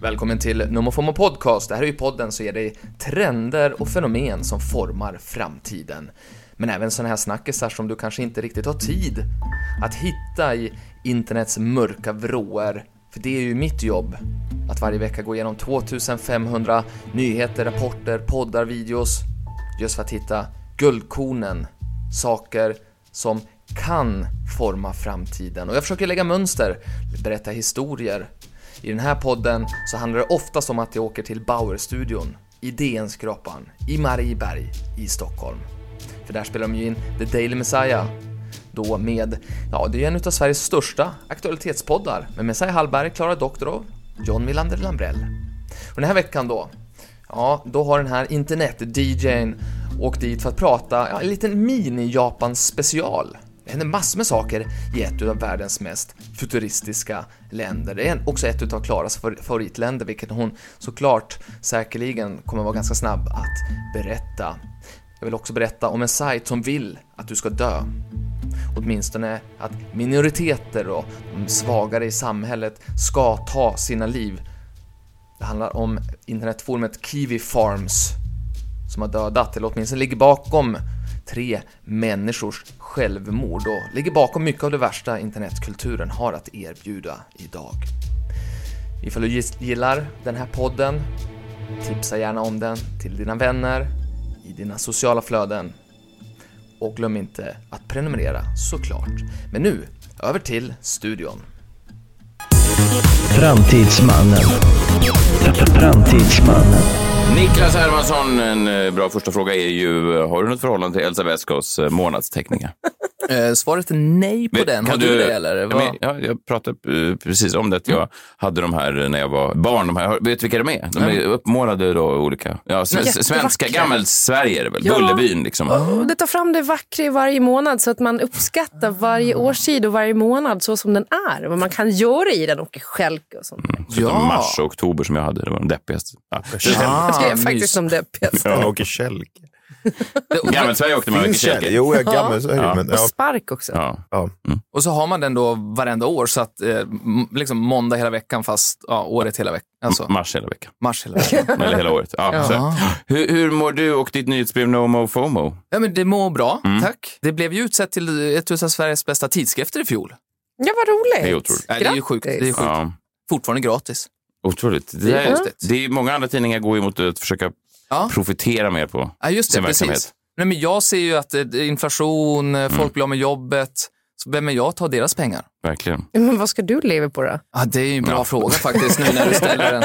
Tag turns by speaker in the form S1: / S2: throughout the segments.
S1: Välkommen till NomoFomo Podcast. Det här är ju podden som ger dig trender och fenomen som formar framtiden. Men även sådana här snackisar som du kanske inte riktigt har tid att hitta i internets mörka vrår. För det är ju mitt jobb, att varje vecka gå igenom 2500 nyheter, rapporter, poddar, videos. Just för att hitta guldkornen, saker som kan forma framtiden. Och jag försöker lägga mönster, berätta historier, i den här podden så handlar det oftast om att jag åker till Bauer-studion i DN-skrapan i Marieberg i Stockholm. För där spelar de ju in The Daily Messiah. Då med, ja det är en av Sveriges största aktualitetspoddar med Messiah Hallberg, Klara Doktorov, John Wilander Lambrell. Och den här veckan då, ja då har den här internet-DJn åkt dit för att prata, ja, en liten mini-Japan special. Det händer massor med saker i ett av världens mest futuristiska länder. Det är också ett av Klaras favoritländer, vilket hon såklart säkerligen kommer vara ganska snabb att berätta. Jag vill också berätta om en sajt som vill att du ska dö. Åtminstone att minoriteter och de svagare i samhället ska ta sina liv. Det handlar om internetforumet Kiwi Farms som har dödat, eller åtminstone ligger bakom tre människors självmord och ligger bakom mycket av det värsta internetkulturen har att erbjuda idag. Ifall du gillar den här podden, tipsa gärna om den till dina vänner, i dina sociala flöden och glöm inte att prenumerera såklart. Men nu, över till studion.
S2: Framtidsmannen. Framtidsmannen.
S3: Niklas Hermansson, en eh, bra första fråga är ju, eh, har du något förhållande till Elsa Vescos eh, månadsteckningar?
S1: Eh, svaret är nej på
S3: Men
S1: den.
S3: kan
S1: Har du, det eller?
S3: Ja,
S1: Vad- Mm.
S3: men, ja, jag pratade eh, precis om det, att jag hade de här eh, när jag var barn. De här, vet du vilka de är? De är uppmålade då, olika. Ja, s- s- svenska,
S4: Jättevackra.
S3: gammelsverige är det väl?
S4: Ja.
S3: Bullerbyn liksom.
S4: Det tar fram det vackra i varje månad så att man uppskattar varje
S3: Mm.
S4: årstid och varje månad så som den är. och Vad man kan göra i den och skälka och sånt.
S3: Förutom
S1: Ja.
S3: mars och oktober som jag hade, det var de deppigaste. Ja.
S1: Ah,
S4: det är
S1: mys.
S4: faktiskt som deppigaste.
S5: Ja, och kälke.
S3: Gammelsverige åkte man mycket
S5: Finns kälke?
S3: kälke.
S5: Jo, jag är gammal. Så är det,
S3: Ja.
S5: men,
S4: Och
S5: ja.
S4: spark också.
S3: Ja.
S5: Ja.
S1: Och så har man den då varenda år, så att eh, m- liksom måndag hela veckan fast ja, året hela veckan. Alltså
S3: Mars hela veckan,
S1: mars hela veckan.
S3: eller hela året. Ja, så. Hur, hur mår du och ditt nyhetsbrev No Mo FOMO?
S1: Ja, men det mår bra,
S3: Mm.
S1: tack. Det blev ju utsett till eh, ett av Sveriges bästa tidskrifter i fjol.
S4: Ja, vad roligt.
S3: Det är otroligt.
S1: Nej, det är ju sjukt. Det är sjukt.
S3: Ja.
S1: Fortfarande gratis.
S3: Otroligt. Det, där,
S1: Ja.
S3: det är många andra tidningar går ju mot att försöka
S1: Ja.
S3: profitera mer på.
S1: Ja, just det.
S3: Sin
S1: Precis.
S3: verksamhet. Mm.
S1: Nej, men jag ser ju att eh, det är inflation, eh, folk blir av med jobbet. Så vem är jag att ta deras pengar?
S3: Verkligen.
S4: Men vad ska du leva på då?
S1: Ja, det är ju en bra fråga faktiskt, nu när du ställer den.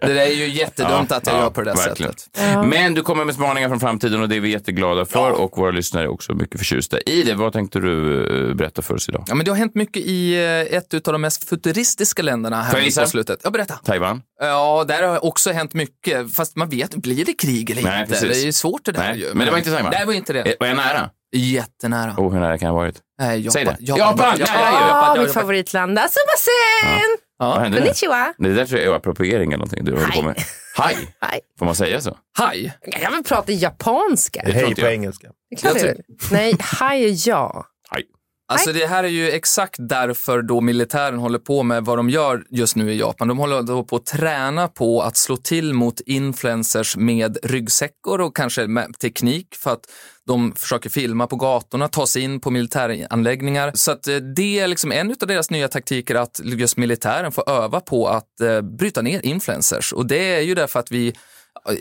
S1: Det där är ju jättedumt
S3: Ja,
S1: att jag
S3: ja,
S1: gör på det där
S3: verkligen.
S1: sättet.
S3: Men du kommer med spaningar från framtiden och det är vi jätteglada för och våra lyssnare är också mycket förtjusta i det. Vad tänkte du eh, berätta för oss idag?
S1: Ja, men det har hänt mycket i eh, ett av de mest futuristiska länderna
S3: Får jag
S1: här nu
S3: gissa?
S1: på slutet. Ja, berätta.
S3: Taiwan?
S1: Ja, där har också hänt mycket. Fast man vet, blir det krig eller
S3: Nej,
S1: inte?
S3: precis.
S1: Det är ju svårt det där
S3: Nej,
S1: ju.
S3: men det var inte Taiwan.
S1: Det var inte det.
S3: Eh, Var jag nära?
S1: Jättenära.
S3: Oh, hur nära kan jag ha varit?
S1: Nej, Japan.
S3: Säg det.
S1: Japan.
S3: Japan! Ja, det är ju-
S1: Japan,
S4: Ah,
S1: Japan,
S4: mitt
S1: Japan.
S4: favoritland. Asumasen!
S3: Vad
S1: Ja.
S3: hände nu?
S4: Konnichiwa!
S3: Det där tror jag är appropriering eller någonting du håller på med. Haj!
S4: Hej.
S3: Får man säga så?
S1: Haj.
S4: Jag kan väl prata japanska? Det
S5: Hej
S3: inte
S5: på
S3: jag.
S5: engelska.
S4: är klart
S1: Jag
S4: jag vill. Nej, hej är ja.
S3: Haj.
S1: Alltså det här är ju exakt därför då militären håller på med vad de gör just nu i Japan. De håller då på att träna på att slå till mot influencers med ryggsäckar och kanske med teknik för att de försöker filma på gatorna, ta sig in på militäranläggningar. Så att eh, det är liksom en av deras nya taktiker att just militären får öva på att eh, bryta ner influencers. Och det är ju därför att vi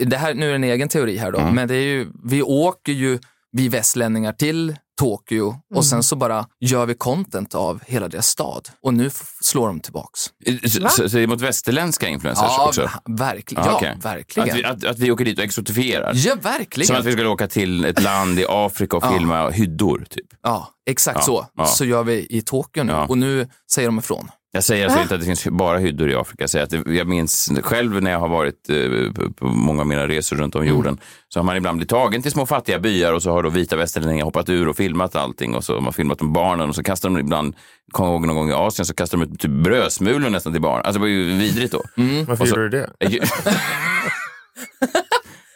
S1: det här, nu är det en egen teori här då, men det är ju, vi åker ju, vi västlänningar till Tokyo
S4: Mm.
S1: och sen så bara gör vi content av hela deras stad och nu f- slår de tillbaks.
S3: Eh, Så, så, så det är mot västerländska influencers också?
S1: ha- verkligen.
S3: Ah,
S1: ja,
S3: okej.
S1: verkligen.
S3: Att vi, att, att vi åker dit och exotifierar?
S1: ja,
S3: Som
S1: verkligen.
S3: att vi skulle åka till ett land i Afrika och filma hyddor, typ.
S1: Ja, exakt så.
S3: ja.
S1: Så gör vi i Tokyo nu
S3: Ja.
S1: och nu säger de ifrån.
S3: Jag säger alltså inte att det finns bara hyddor i Afrika. Jag, säger att det, jag minns själv när jag har varit eh, på- på många av mina resor runt om jorden så har man ibland blivit tagen till små fattiga byar och så har då vita västerlänningar hoppat ur och filmat allting och så har man filmat de barnen och så kastar de ibland, kommer jag ihåg någon gång i Asien, så kastar de ut typ brödsmulor nästan till barn. Alltså det var ju vidrigt då.
S5: Varför gjorde du det?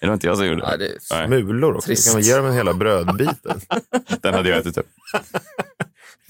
S3: det var inte jag som gjorde
S1: Ja,
S3: det.
S1: det är
S3: Nej,
S5: Mulor också. Kan man ge dem en hela brödbiten?
S3: den hade jag ätit upp.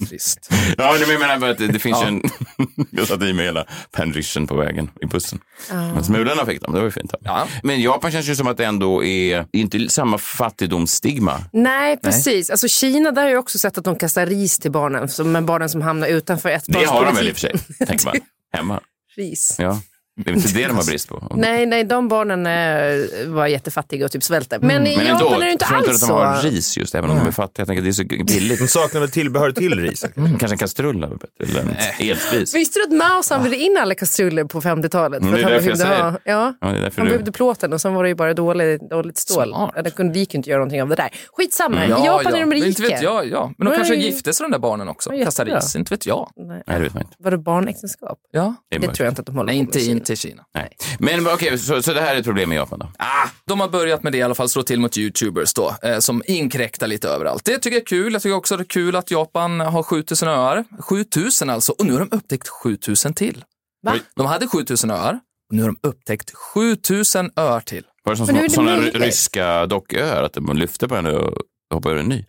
S1: Trist.
S3: Ja, men jag menar bara att det, det finns ju en... jag satte i mig hela penrischen på vägen i bussen.
S4: Ah.
S3: Men smulorna fick de, det var ju fint.
S1: Ja.
S3: Men Japan känns ju som att det ändå är... Det är inte samma fattigdomsstigma.
S4: Nej, precis. Alltså, Kina, där har jag också sett att de kastar ris till barnen. så- Men barnen som hamnar utanför ett
S3: Det har de väl i och för sig, tänker man. Hemma.
S4: Ris.
S3: Ja. Det är inte det de har brist på.
S4: Nej, nej, de barnen eh, var jättefattiga och typ svälter. Men i
S3: Mm. Men ändå,
S4: Japan är det inte
S3: tror jag
S4: alls
S3: inte att de
S4: så.
S3: har ris just, även om de är fattiga. Jag tänker att det är så billigt. Mm.
S5: De saknar väl tillbehör till riset?
S3: Kanske en kastrull hade varit bättre, eller en elspis.
S4: Visste du att Mao samlade in alla kastruller på 50-talet?
S3: Ah. Mm, det är
S4: att han
S3: därför jag
S4: behövde
S3: säger.
S4: ha- Ja.
S3: Ja, det är därför
S4: Han
S3: du-
S4: behövde plåten och sen var det ju bara dålig, dåligt stål.
S1: Smart.
S4: Ja, det kunde, vi kunde inte göra någonting av det där. Skitsamma,
S3: Mm.
S4: i Japan är de
S1: Men
S4: rika.
S1: Inte vet jag, ja. Men de
S4: Nej.
S1: kanske gifte sig de där barnen också.
S4: Ja,
S1: Kastar
S4: jättebra.
S1: is, inte vet jag.
S4: Nej.
S3: Nej, det vet man inte.
S4: Var det barnäktenskap?
S1: Ja.
S3: Det är
S4: Det
S3: mörkt.
S4: tror jag inte att de håller
S1: Nej,
S4: på med.
S1: inte,
S4: i Kina.
S1: inte i Kina.
S3: Nej. Men okej, så, så det här är ett problem i Japan då?
S1: Ah, de har börjat med det i alla fall, slå till mot YouTubers då, eh, som inkräktar lite överallt. Det tycker jag är kul. Jag tycker också det är kul att Japan har 7000 öar. 7000 alltså, och nu har de upptäckt 7000 till.
S4: Va?
S3: Oj.
S1: De hade 7000 öar, och nu har de upptäckt 7000 öar till.
S3: Var det som
S4: Men hur är
S3: små-
S4: det
S3: sådana
S4: möjligt?
S3: ryska docköar, att de lyfte på henne och hoppade över en ny?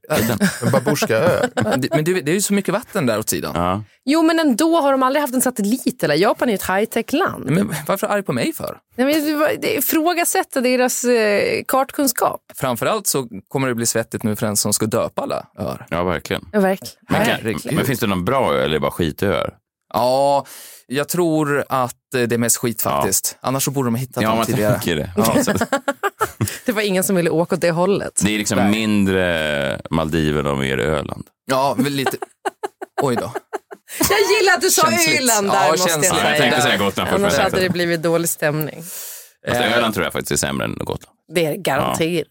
S5: En babusjkaö.
S1: Ja, det- Men det, det är ju så mycket vatten där åt sidan.
S3: Ja.
S4: Jo, men ändå har de aldrig haft en satellit. Eller? Japan är ju ett high-tech-land.
S3: Mm.
S1: Men varför är du arg på mig för?
S4: Nej, men det var- det ifrågasätta deras eh, kartkunskap.
S1: Framförallt så kommer det bli svettigt nu för den som ska döpa alla öar.
S3: ja, verkligen.
S4: Ja, verkligen.
S3: Men,
S1: Herregud.
S3: kan, men finns det någon bra ö eller är det bara skitöar?
S1: Ja, jag tror att eh, det är mest skit faktiskt. Annars så borde de ha hittat
S3: Ja,
S1: dem
S3: man
S1: tidigare.
S3: tänker det. Ja, så att
S4: Det var ingen som ville åka åt det hållet.
S3: det är liksom mindre Maldiverna och mer Öland.
S1: Ja, väl lite... Oj då.
S4: Jag gillar att du sa
S1: Känsligt.
S4: Öland
S1: Ja,
S4: där, måste jag
S1: känsligt.
S3: Ja, jag
S4: säga.
S3: tänkte säga Gotland först. men
S4: Annars
S3: jag
S4: hade
S3: tänkte-
S4: det blivit dålig stämning.
S3: Fast Öland tror jag faktiskt är sämre än Gotland.
S4: Det är garanterat.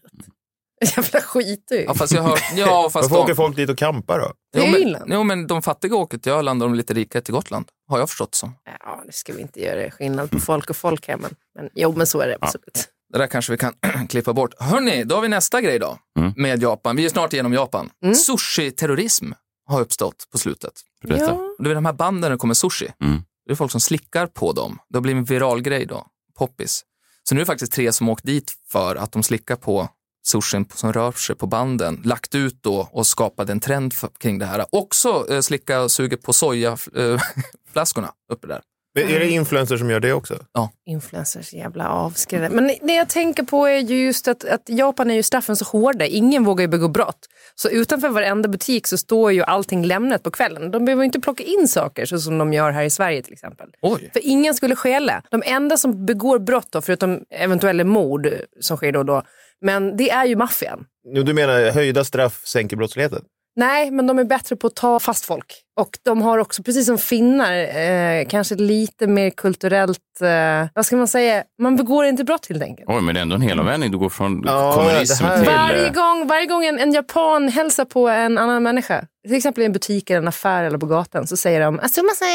S4: Jävla skitö.
S1: Ja, fast jag hör... Ja, fast
S5: Varför
S1: de...
S5: åker folk dit och campar då?
S4: Det är
S1: jo, men,
S4: Irland.
S1: Jo, men de fattiga åker till Öland och de lite rika till Gotland. Har jag förstått som.
S4: Ja, nu ska vi inte göra skillnad på folk och folk här, men, men jo, men så är det absolut.
S1: Det där kanske vi kan klippa bort. Hörni, då har vi nästa grej då.
S3: Mm.
S1: Med Japan. Vi är snart igenom Japan.
S4: Mm.
S1: Sushi-terrorism har uppstått på slutet.
S3: Berätta.
S1: Du vet de här banden när det kommer sushi.
S3: Mm.
S1: Det är folk som slickar på dem. Det har blivit en viral grej då. Poppis. Så nu är det faktiskt tre som åkt dit för att de slickar på sushin som rör sig på banden. Lagt ut då och skapade en trend för, kring det här. Också eh, slicka och suger på sojaflaskorna uppe där.
S5: Men Är det influencers som gör det också?
S4: Influencers jävla avskräckande. Men det jag tänker på är ju just att, att Japan är ju straffen så hårda. Ingen vågar ju begå brott. Så utanför varenda butik så står ju allting lämnat på kvällen. De behöver ju inte plocka in saker så som de gör här i Sverige till exempel.
S1: Oj.
S4: För ingen skulle stjäla. De enda som begår brott då, förutom eventuella mord som sker då och då, men det är ju maffian.
S5: Jo, du menar höjda straff sänker brottsligheten?
S4: Nej, men de är bättre på att ta fast folk. Och de har också, precis som finnar, eh, kanske lite mer kulturellt, eh, vad ska man säga, man begår inte brott helt enkelt.
S3: Oj, men det är ändå en helomvändning. Du går från
S5: Ja,
S3: kommunism
S5: det här-
S3: till...
S4: Varje
S3: eh,
S4: gång, varje gång en, en japan hälsar på en annan människa, till exempel i en butik, eller en affär eller på gatan, så säger de "Asumase."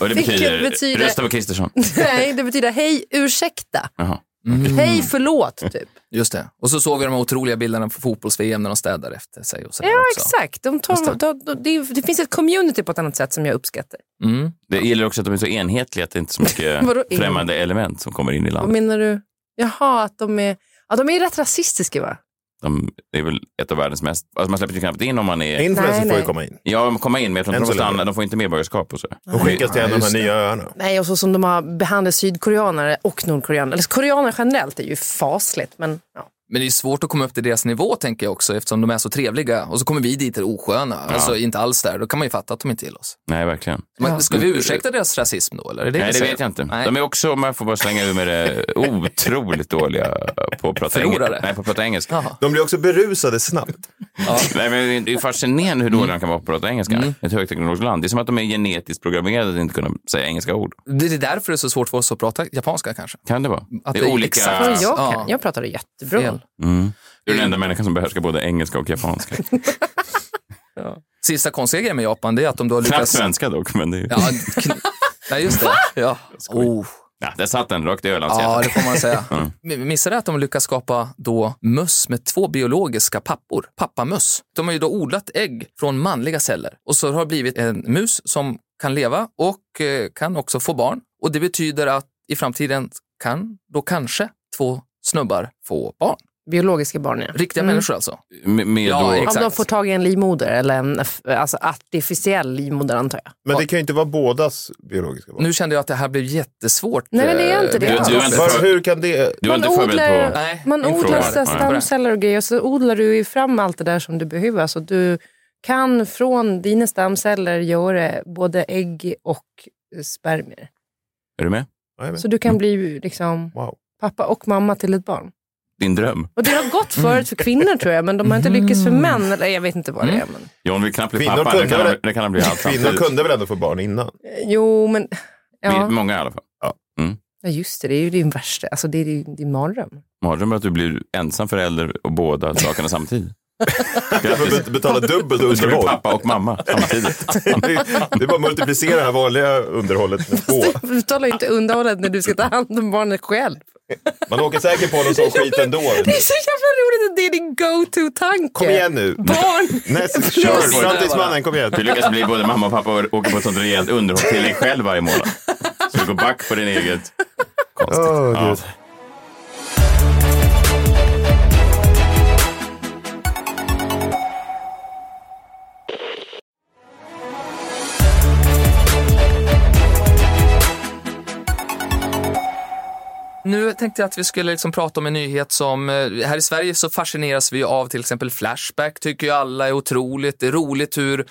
S3: Och det
S4: Vilket
S3: betyder,
S4: betyder-
S3: Rösta på Kristersson.
S4: Nej, det betyder hej, ursäkta,
S3: Jaha. Mm.
S4: hej, förlåt, typ.
S1: Mm, Just det. Och så såg vi de här otroliga bilderna från fotbolls-VM när de städar efter sig. Och så där
S4: Ja,
S1: också.
S4: exakt. De tar,
S1: Just
S4: de, de, det, är- det finns ett community på ett annat sätt som jag uppskattar.
S1: Mm.
S3: Det gäller också att de är så enhetliga att det inte är så
S4: Vadå
S3: mycket
S4: en-
S3: främmande element som kommer in i
S4: Vad
S3: landet.
S4: menar du? Jaha, att de är, ja, de är rätt rasistiska va?
S3: De det är väl ett av världens mest... Alltså man släpper ju knappt in om man är...
S5: Influencers
S4: Nej,
S5: får
S4: nej.
S5: ju komma in
S3: Ja, de kommer in, men jag tror
S5: Än
S3: inte de får
S5: så länge.
S3: stanna. De får inte medborgarskap och så.
S5: och skickas till en av de
S1: just
S5: här nya öarna.
S4: Nej, och så som de har behandlat sydkoreaner och nordkoreaner. Eller koreaner generellt är ju fasligt, men ja.
S1: Men det är svårt att komma upp till deras nivå tänker jag också eftersom de är så trevliga och så kommer vi dit och är osköna. Alltså inte alls där, då kan man ju fatta att de inte gillar oss.
S3: Nej, verkligen.
S1: Men, ska vi ursäkta deras rasism då? Eller? Är
S3: Nej, det
S1: vi
S3: vet jag inte.
S1: Nej.
S3: De är också, om jag får bara slänga ur med det, otroligt dåliga på att prata, eng-
S1: Förlorare.
S3: Nej, på att prata engelska.
S1: Jaha.
S5: De blir också berusade snabbt.
S3: Nej, men det är fascinerande hur dåliga de kan vara på att prata engelska.
S1: Mm.
S3: Ett högteknologiskt land. Det är som att de är genetiskt programmerade att inte kunna säga engelska ord.
S1: Det är därför det är så svårt för oss att prata japanska kanske.
S3: Kan det vara?
S1: Att
S3: det är
S1: det är
S3: olika...
S1: exakt-
S4: Vad jag,
S1: ja.
S4: kan. jag pratar jättebra.
S1: Fel.
S3: Mm. Du är den enda människan som behärskar både engelska och japanska.
S1: Sista konstiga grejen med Japan det är att de då har
S3: Knappt
S1: lyckats...
S3: svenska dock, men det är ju...
S1: Ja, kn- Nej, just det. Ja. Oh.
S3: Ja, där satt den, rakt i
S1: ja,
S3: Ölandshjärtat.
S1: det får man säga. Mm. Missade att de lyckas skapa då möss med två biologiska pappor, pappamöss. De har ju då odlat ägg från manliga celler och så har det blivit en mus som kan leva och eh, kan också få barn. Och det betyder att i framtiden kan då kanske två snubbar få barn.
S4: biologiska barn ja.
S1: Riktiga människor alltså?
S3: Med, med
S1: Ja,
S3: då,
S1: exakt.
S4: Om de får tag i en livmoder eller en f- alltså artificiell livmoder antar jag.
S5: Men det kan ju inte vara bådas biologiska barn.
S1: Nu kände jag att det här blev jättesvårt.
S4: Nej, men det är
S1: eh,
S4: inte det
S1: vet-
S4: alls.
S3: Du- du är inte
S5: Var,
S3: för-
S5: hur kan det...
S3: du var
S4: Man
S3: inte förberedd
S4: odlar-
S3: på...
S1: Nej,
S4: Man
S1: min
S4: odlar
S1: fråga.
S4: så här
S1: Ja.
S4: stamceller och grejer och så odlar du ju fram allt det där som du behöver. Så du kan från dina stamceller göra både ägg och eh, spermier.
S3: Är du med?
S5: Nej, men,
S4: Så du kan bli liksom
S5: wow.
S4: pappa och mamma till ett barn.
S3: Din dröm.
S4: Och det har gått förut för kvinnor tror jag, men de har inte lyckats för män. Eller jag vet inte vad det är. Men...
S3: John vill knappt bli
S5: Kvinnor
S3: pappa.
S5: kunde
S3: Det kan,
S5: väl-
S3: han, det kan han bli allt
S5: Kvinnor
S3: samtidigt.
S5: kunde väl ändå få barn innan?
S4: eh, Jo, men...
S3: Vi-
S4: Ja.
S3: Många i alla fall.
S4: ja, just det. Det är ju din värsta, alltså det är din, din mardröm.
S3: Mardröm är att du blir ensam förälder och båda sakerna samtidigt. Grattis.
S5: Be- Betala dubbelt
S3: Du ska bli
S5: underhåll.
S3: pappa och mamma samtidigt.
S5: Det är- det är bara att multiplicera det här vanliga underhållet med två.
S4: Du betalar ju inte underhållet när du ska ta hand om barnet själv.
S5: Man åker säkert på någon sån skit ändå.
S4: Det är så jävla roligt att det är din go-to-tanke.
S5: Kom igen nu.
S4: Barn!
S5: Näst, kör.
S3: Förlåt.
S5: Framtidsmannen, kom igen.
S3: Du lyckas bli både mamma och pappa och åker på ett sånt rejält underhåll till dig själv varje månad. Så du går back på din eget.
S5: Åh, Gud.
S1: Nu tänkte jag att vi skulle liksom prata om en nyhet som, eh, här i Sverige så fascineras vi ju av till exempel Flashback, tycker ju alla är otroligt. Det är roligt hur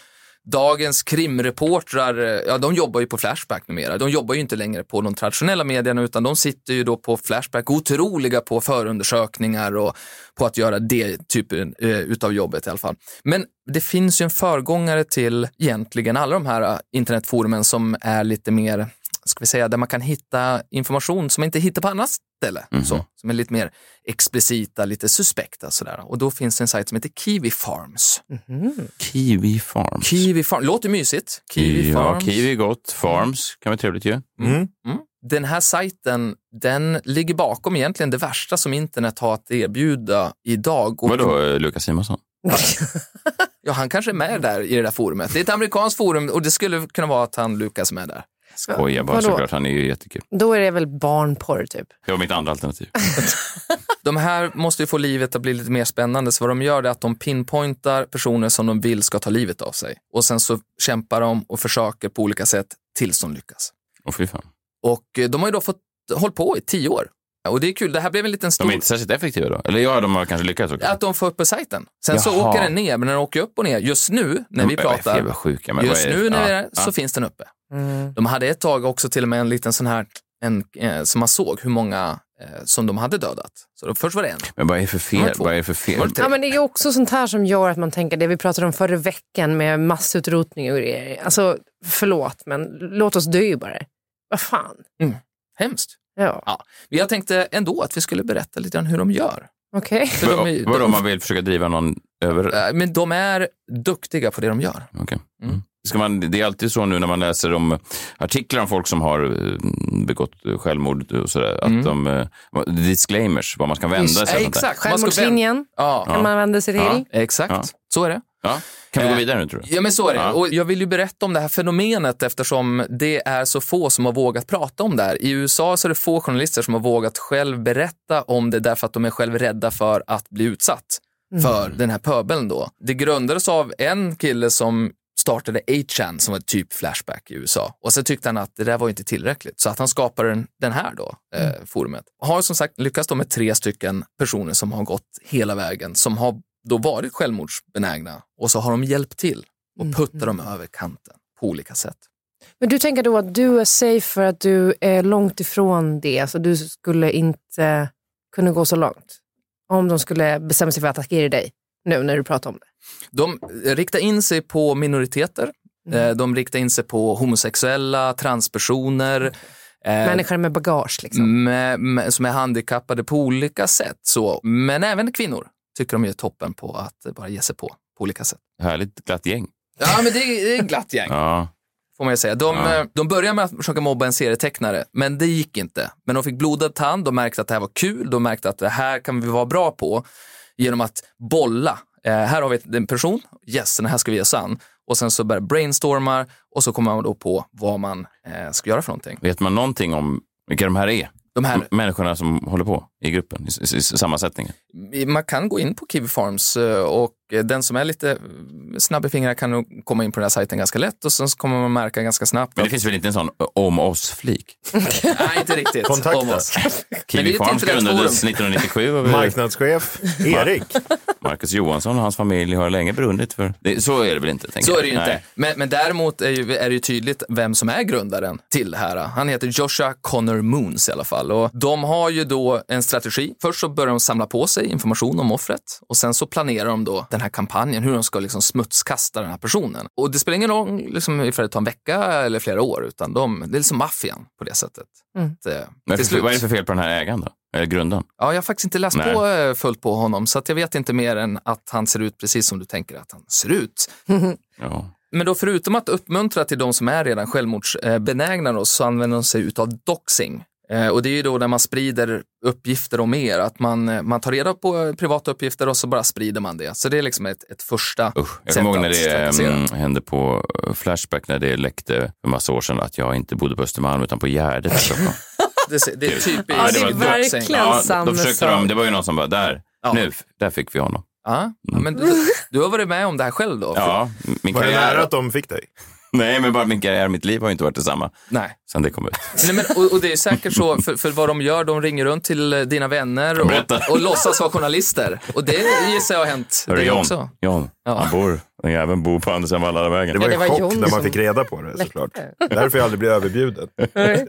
S1: dagens krimreportrar, eh, ja de jobbar ju på Flashback numera. De jobbar ju inte längre på de traditionella medierna utan de sitter ju då på Flashback, otroliga på förundersökningar och på att göra det typen eh, utav jobbet i alla fall. Men det finns ju en förgångare till egentligen alla de här eh, internetforumen som är lite mer ska vi säga, där man kan hitta information som man inte hittar på annat ställe.
S3: Mhm.
S1: Så, som är lite mer explicita, lite suspekta. Sådär. Och då finns det en sajt som heter Kiwi Farms.
S3: Kiwi Farms.
S1: Kiwi Farms, låter mysigt. Kiwi
S3: Ja,
S1: Farms.
S3: kiwi är gott. Farms kan vara trevligt ju.
S1: Den här sajten, den ligger bakom egentligen det värsta som internet har att erbjuda idag. Och-
S3: Vadå, eh, Lukas Simonsson?
S1: Ja, han kanske är med där i det där forumet. Det är ett amerikanskt forum och det skulle kunna vara att han Lukas är med där.
S3: Skojar bara
S4: Vadå?
S3: såklart, han är ju jättekul.
S4: Då är det väl barnporr typ.
S3: Det var mitt andra alternativ.
S1: De här måste ju få livet att bli lite mer spännande, så vad de gör är att de pinpointar personer som de vill ska ta livet av sig. Och sen så kämpar de och försöker på olika sätt tills de lyckas.
S3: Åh fy fan.
S1: Och eh, de har ju då fått hålla på i tio år. Och det är kul, det här blev en liten
S3: De
S1: stor...
S3: är inte särskilt effektiva då? Eller ja, de har kanske lyckats också.
S1: Att de får upp på sajten. Sen så
S3: Jaha.
S1: åker den ner, men den åker upp och ner. Just nu när vi
S3: De är jävla
S1: pratar,
S3: sjuka, men
S1: just
S3: vad är det?
S1: nu när vi är
S3: Ja,
S1: där,
S3: ja.
S1: så finns den uppe. De hade ett tag också till och med en liten sån här, en, eh, som man såg hur många eh, som de hade dödat. Så då, först var det en,
S3: Men vad är det för
S1: Nummer
S3: fel?
S1: två.
S3: Vad är det för fel?
S1: Nummer tre.
S4: Ja, men det är också sånt här som gör att man tänker det vi pratade om förra veckan med massutrotning och grejer. Alltså, förlåt, men låt oss dö bara. Vad fan.
S1: hemskt.
S4: Ja,
S1: Ja, men jag tänkte ändå att vi skulle berätta lite om hur de gör.
S4: okej.
S1: För de är ju-
S3: Vadå, om man vill försöka driva någon över?
S1: Äh, Men de är duktiga på det de gör.
S3: Okej. Mm. Ska man, det är alltid så nu när man läser om artiklar om folk som har eh, begått eh, självmord och sådär, att de, eh, vad- disclaimers, vad man ska vända sig. och
S1: Ja,
S3: sånt
S1: Mm.
S3: där.
S1: Eh, exakt. Man ska vända-
S4: Självmordslinjen
S1: Ja,
S4: kan man vända sig till.
S3: Ja.
S1: exakt.
S3: Ja.
S1: Så är det.
S3: Ja. Kan vi gå
S1: Eh,
S3: vidare nu tror du?
S1: Ja, men så är det.
S3: Ja.
S1: Och jag vill ju berätta om det här fenomenet eftersom det är så få som har vågat prata om det här. I USA så är det få journalister som har vågat själv berätta om det därför att de är själv rädda för att bli utsatt för den här pöbeln då. Det grundades av en kille som startade 8chan som var typ Flashback i USA. Och så tyckte han att det där var inte tillräckligt, så att han skapade den, den här då, eh, forumet. Har som sagt lyckats då med tre stycken personer som har gått hela vägen, som har då varit självmordsbenägna och så har de hjälpt till och puttar dem över kanten på olika sätt.
S4: Men du tänker då att du är safe för att du är långt ifrån det, så du skulle inte kunna gå så långt? Om de skulle bestämma sig för att attackera dig nu när du pratar om det.
S1: De riktar in sig på minoriteter, eh, de riktar in sig på homosexuella, transpersoner, eh, Mm.
S4: Människor med bagage liksom.
S1: med, med, som är handikappade på olika sätt. Så, men även kvinnor tycker de är toppen på att bara ge sig på, på olika sätt.
S3: Härligt glatt gäng.
S1: Ja, men det är, det är en glatt gäng.
S3: Ja.
S1: Får man ju säga. De,
S3: Ja.
S1: eh, de började med att försöka mobba en serietecknare, men det gick inte. Men de fick blodad tand, de märkte att det här var kul, de märkte att det här kan vi vara bra på genom att bolla. Eh, här har vi ett- en person, yes, den här ska vi ge oss an. Och sen så börjar brainstorma och så kommer man då på vad man eh, ska göra för någonting.
S3: Vet man någonting om vilka de här är?
S1: De här
S3: M- människorna som håller på i gruppen, i, s- i, s- sammansättningen.
S1: man kan gå in på Kiwi Farms eh, och eh, den som är lite eh, snabb i fingrarna kan nog komma in på den här sajten ganska lätt och sen så kommer man märka ganska snabbt
S3: Men det
S1: att,
S3: finns väl inte en sån eh, om oss-flik?
S1: nej inte riktigt,
S5: Kontakta.
S1: om oss. Men det är typ
S3: Kiwi
S1: ett
S3: Farms
S1: internationellt
S3: grundades 1997 av eh,
S5: Marknadschef Erik.
S3: Marcus Johansson och hans familj har länge brunnit för... Det, så är det väl inte? tänker
S1: Så är
S3: jag.
S1: det ju inte.
S3: Nej.
S1: Men, men däremot är, ju, är det ju tydligt vem som är grundaren till det här. Han heter Joshua Connor Moons i alla fall. Och de har ju då en strategi. Först så börjar de samla på sig information om offret och sen så planerar de då den här kampanjen, hur de ska liksom smutskasta den här personen. Och det spelar ingen roll liksom, ifall det tar en vecka eller flera år, utan de, det är liksom maffian på det sättet.
S4: Mm.
S1: Att, eh,
S3: Men
S1: till
S3: för,
S1: slut.
S3: vad är det för fel på den här ägaren då? Eller grundaren?
S1: Ja, jag har faktiskt inte läst
S3: Nej.
S1: på eh, fullt på honom, så att jag vet inte mer än att han ser ut precis som du tänker att han ser ut.
S3: Ja.
S1: Men då förutom att uppmuntra till de som är redan självmordsbenägna då, så använder de sig utav doxing. Eh, Och det är ju då när man sprider uppgifter om er, att man, eh, man tar reda på eh, privata uppgifter och så bara sprider man det. Så det är liksom ett, ett första
S3: Usch. Jag
S1: sätt
S3: kommer ihåg
S1: att
S3: när det
S1: trakassera.
S3: mm, hände på eh, Flashback, när det läckte för massa år sedan att jag inte bodde på Östermalm utan på Gärdet i Stockholm.
S1: Det, det är typiskt
S4: Ja, det är
S1: doxing.
S4: verkligen.
S1: Ja,
S3: ja,
S4: samma
S3: då försökte
S4: sak.
S3: de, det var ju någon som bara, där,
S1: Ja.
S3: nu, där fick vi honom.
S1: ja, men du, du har varit med om det här själv då?
S3: Mm. Ja, min
S5: Var det nära
S3: karriär,
S5: att de fick dig?
S3: nej, men bara min karriär, mitt liv har ju inte varit detsamma
S1: Nej.
S3: sen det kom ut.
S1: Nej, men, och, och det är säkert så, för, för vad de gör, de ringer runt till eh, dina vänner och,
S3: Berätta.
S1: och låtsas vara journalister. Och det gissar jag har hänt
S3: Hörru,
S1: dig
S3: John,
S1: också.
S3: John,
S1: Ja.
S3: han bor, den jäveln bor på Andersen Valladavägen.
S5: Det var
S4: Ja, det
S5: en
S4: var
S5: chock
S4: John
S5: när
S4: som-
S5: man fick reda på det såklart.
S4: Läckte.
S5: Därför jag aldrig blev överbjuden.
S4: Nej.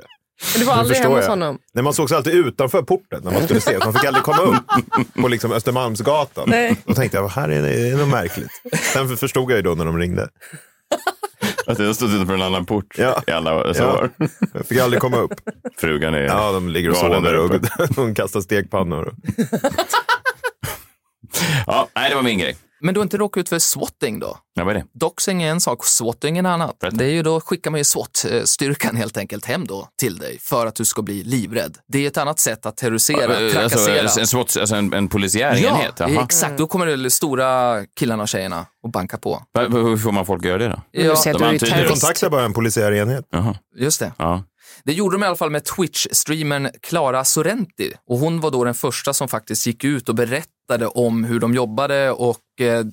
S4: Men Du var
S5: Nu
S4: aldrig
S5: förstår
S4: hemma hos
S5: jag.
S4: honom?
S5: Nej, man sågs alltid utanför porten när man skulle ses. Man fick aldrig komma upp på liksom Östermalmsgatan.
S4: Nej.
S5: Då tänkte jag, här är det, är det något märkligt. Sen förstod jag ju då när de ringde.
S3: Att jag har stått utanför en annan port
S5: Ja.
S3: i alla alltså, dessa
S5: Ja.
S3: år.
S5: Jag fick aldrig komma upp.
S3: Frugan är...
S5: Ja, de ligger och
S3: Galen
S5: sover
S3: där
S5: och
S3: uppe.
S5: de kastar stekpannor.
S3: Ja, nej, det var min grej.
S1: Men du har inte råkat ut för swatting då?
S3: Ja, vad är det?
S1: Doxing är en sak, swatting är en annan. Det är ju då skickar man ju SWAT-styrkan helt enkelt hem då till dig för att du ska bli livrädd. Det är ett annat sätt att terrorisera, trakassera.
S3: Alltså, en, SWAT, alltså en, en polisiär enhet?
S1: Ja,
S3: Jaha.
S1: exakt. Då kommer de stora killarna och tjejerna och banka på.
S3: Va- va- Hur får man folk att göra det då?
S4: Du
S1: Ja,
S4: säger att
S3: de
S4: du är
S3: antyder det.
S4: terrorist.
S5: Kontakta bara en polisiär enhet.
S3: Jaha.
S1: just det.
S3: Ja.
S1: Det gjorde de i alla fall med Twitch-streamern Clara Sorrenti. Och hon var då den första som faktiskt gick ut och berättade om hur de jobbade och eh,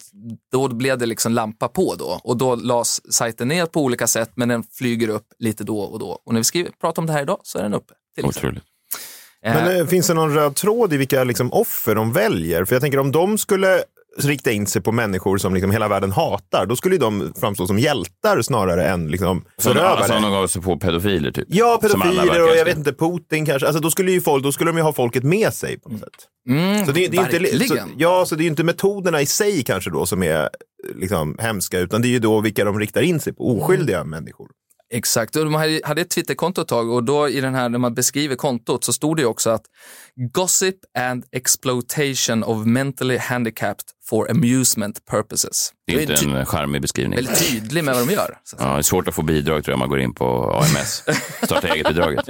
S1: då blev det liksom lampa på då. Och då lades sajten ner på olika sätt men den flyger upp lite då och då. Och när vi skriver, pratar om det här idag så är den uppe. Till exempel.
S3: Otroligt.
S1: Eh,
S5: Men eh, finns det någon röd tråd i vilka liksom, offer de väljer? För jag tänker om de skulle rikta in sig på människor som liksom hela världen hatar, då skulle ju de framstå som hjältar snarare än liksom,
S3: Som, alla som
S5: förövare.
S3: de gav sig på pedofiler typ?
S5: Ja,
S3: Som alla verkar
S5: pedofiler och jag
S3: älska.
S5: vet inte, Putin kanske. Alltså, då, skulle ju folk, då skulle de ju ha folket med sig på något sätt.
S1: Mm,
S5: Så det, det är ju inte, så,
S1: verkligen.
S5: ja, så det är ju inte metoderna i sig kanske då som är eh, liksom, hemska, utan det är ju då vilka de riktar in sig på, oskyldiga människor.
S1: Exakt, och de hade- hade ett Twitterkonto ett tag och då i den här, när man beskriver kontot så stod det ju också att gossip and exploitation of mentally handicapped for amusement purposes.
S3: Det är
S1: Det är
S3: inte
S1: ty-
S3: en charmig beskrivning.
S1: väldigt tydlig med vad de gör. Så att
S3: Ja, det är svårt att få bidrag tror jag om man går in på AMS. Starta eget-bidraget.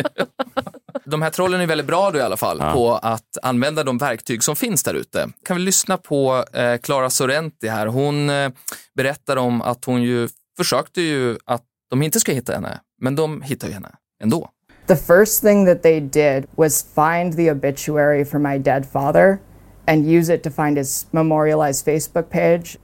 S1: De här trollen är väldigt bra då i alla fall på att använda de verktyg som finns där ute. Kan vi lyssna på eh, Clara Sorrenti här. Hon eh, berättar om att hon ju försökte ju att de inte ska hitta henne, men de hittar ju henne ändå.
S2: The first thing that they did was find the obituary for my dead father and use it to find his memorialized Facebook page.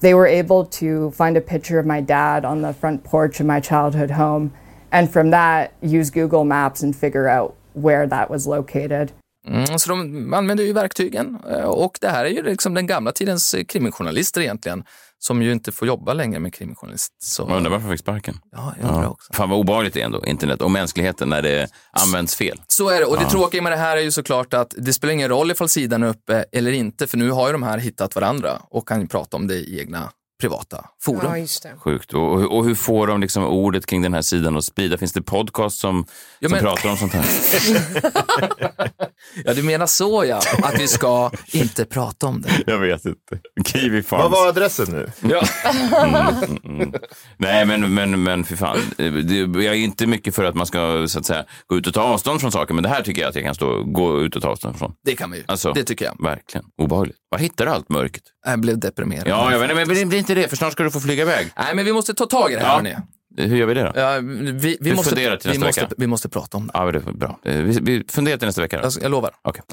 S2: They were able to find a picture of my dad on the front porch of my childhood home, and from that, use Google Maps and figure out where that was located.
S1: Mm, så de använder ju verktygen eh, och det här är ju liksom den gamla tidens eh, krimjournalister egentligen som ju inte får jobba längre med krimjournalist. Så,
S3: Man undrar varför de fick sparken.
S1: ja, jag undrar också.
S3: Fan vad obehagligt det är ändå, internet och mänskligheten när det används fel.
S1: Så är det. Och det tråkiga med det här är ju såklart att det spelar ingen roll ifall sidan är uppe eller inte, för nu har ju de här hittat varandra och kan ju prata om det i egna privata forum.
S4: Ja, just det.
S3: Sjukt. Och, och, och hur får de liksom ordet kring den här sidan att sprida? Finns det podcast som,
S1: men-
S3: som pratar om sånt här?
S1: Ja, du menar så ja, att vi ska inte prata om det.
S3: Jag vet inte. Kiwi Mm, Farms.
S5: Vad var adressen nu?
S3: Nej, men, men, men för fan. Det, jag är inte mycket för att man ska så att säga, gå ut och ta avstånd från saker, men det här tycker jag att jag kan stå, gå ut och ta avstånd från.
S1: Det kan vi ju.
S3: Alltså.
S1: Det tycker jag.
S3: Verkligen. Obehagligt. Var hittar du allt mörkret?
S1: Jag blev deprimerad.
S3: Ja, jag vet inte, men det blir inte det, för snart ska du få flyga iväg.
S1: Nej, men vi måste ta tag i det här,
S3: Ja.
S1: hörni.
S3: Hur gör vi det då? Ja,
S1: Ja, vi, vi,
S3: Vi
S1: måste,
S3: funderar till
S1: vi,
S3: nästa
S1: måste,
S3: vecka.
S1: vi måste prata om det. Alltså,
S3: men det är bra. Eh, Vi, vi funderar till nästa vecka. då.
S1: Jag, jag lovar.
S3: Okej.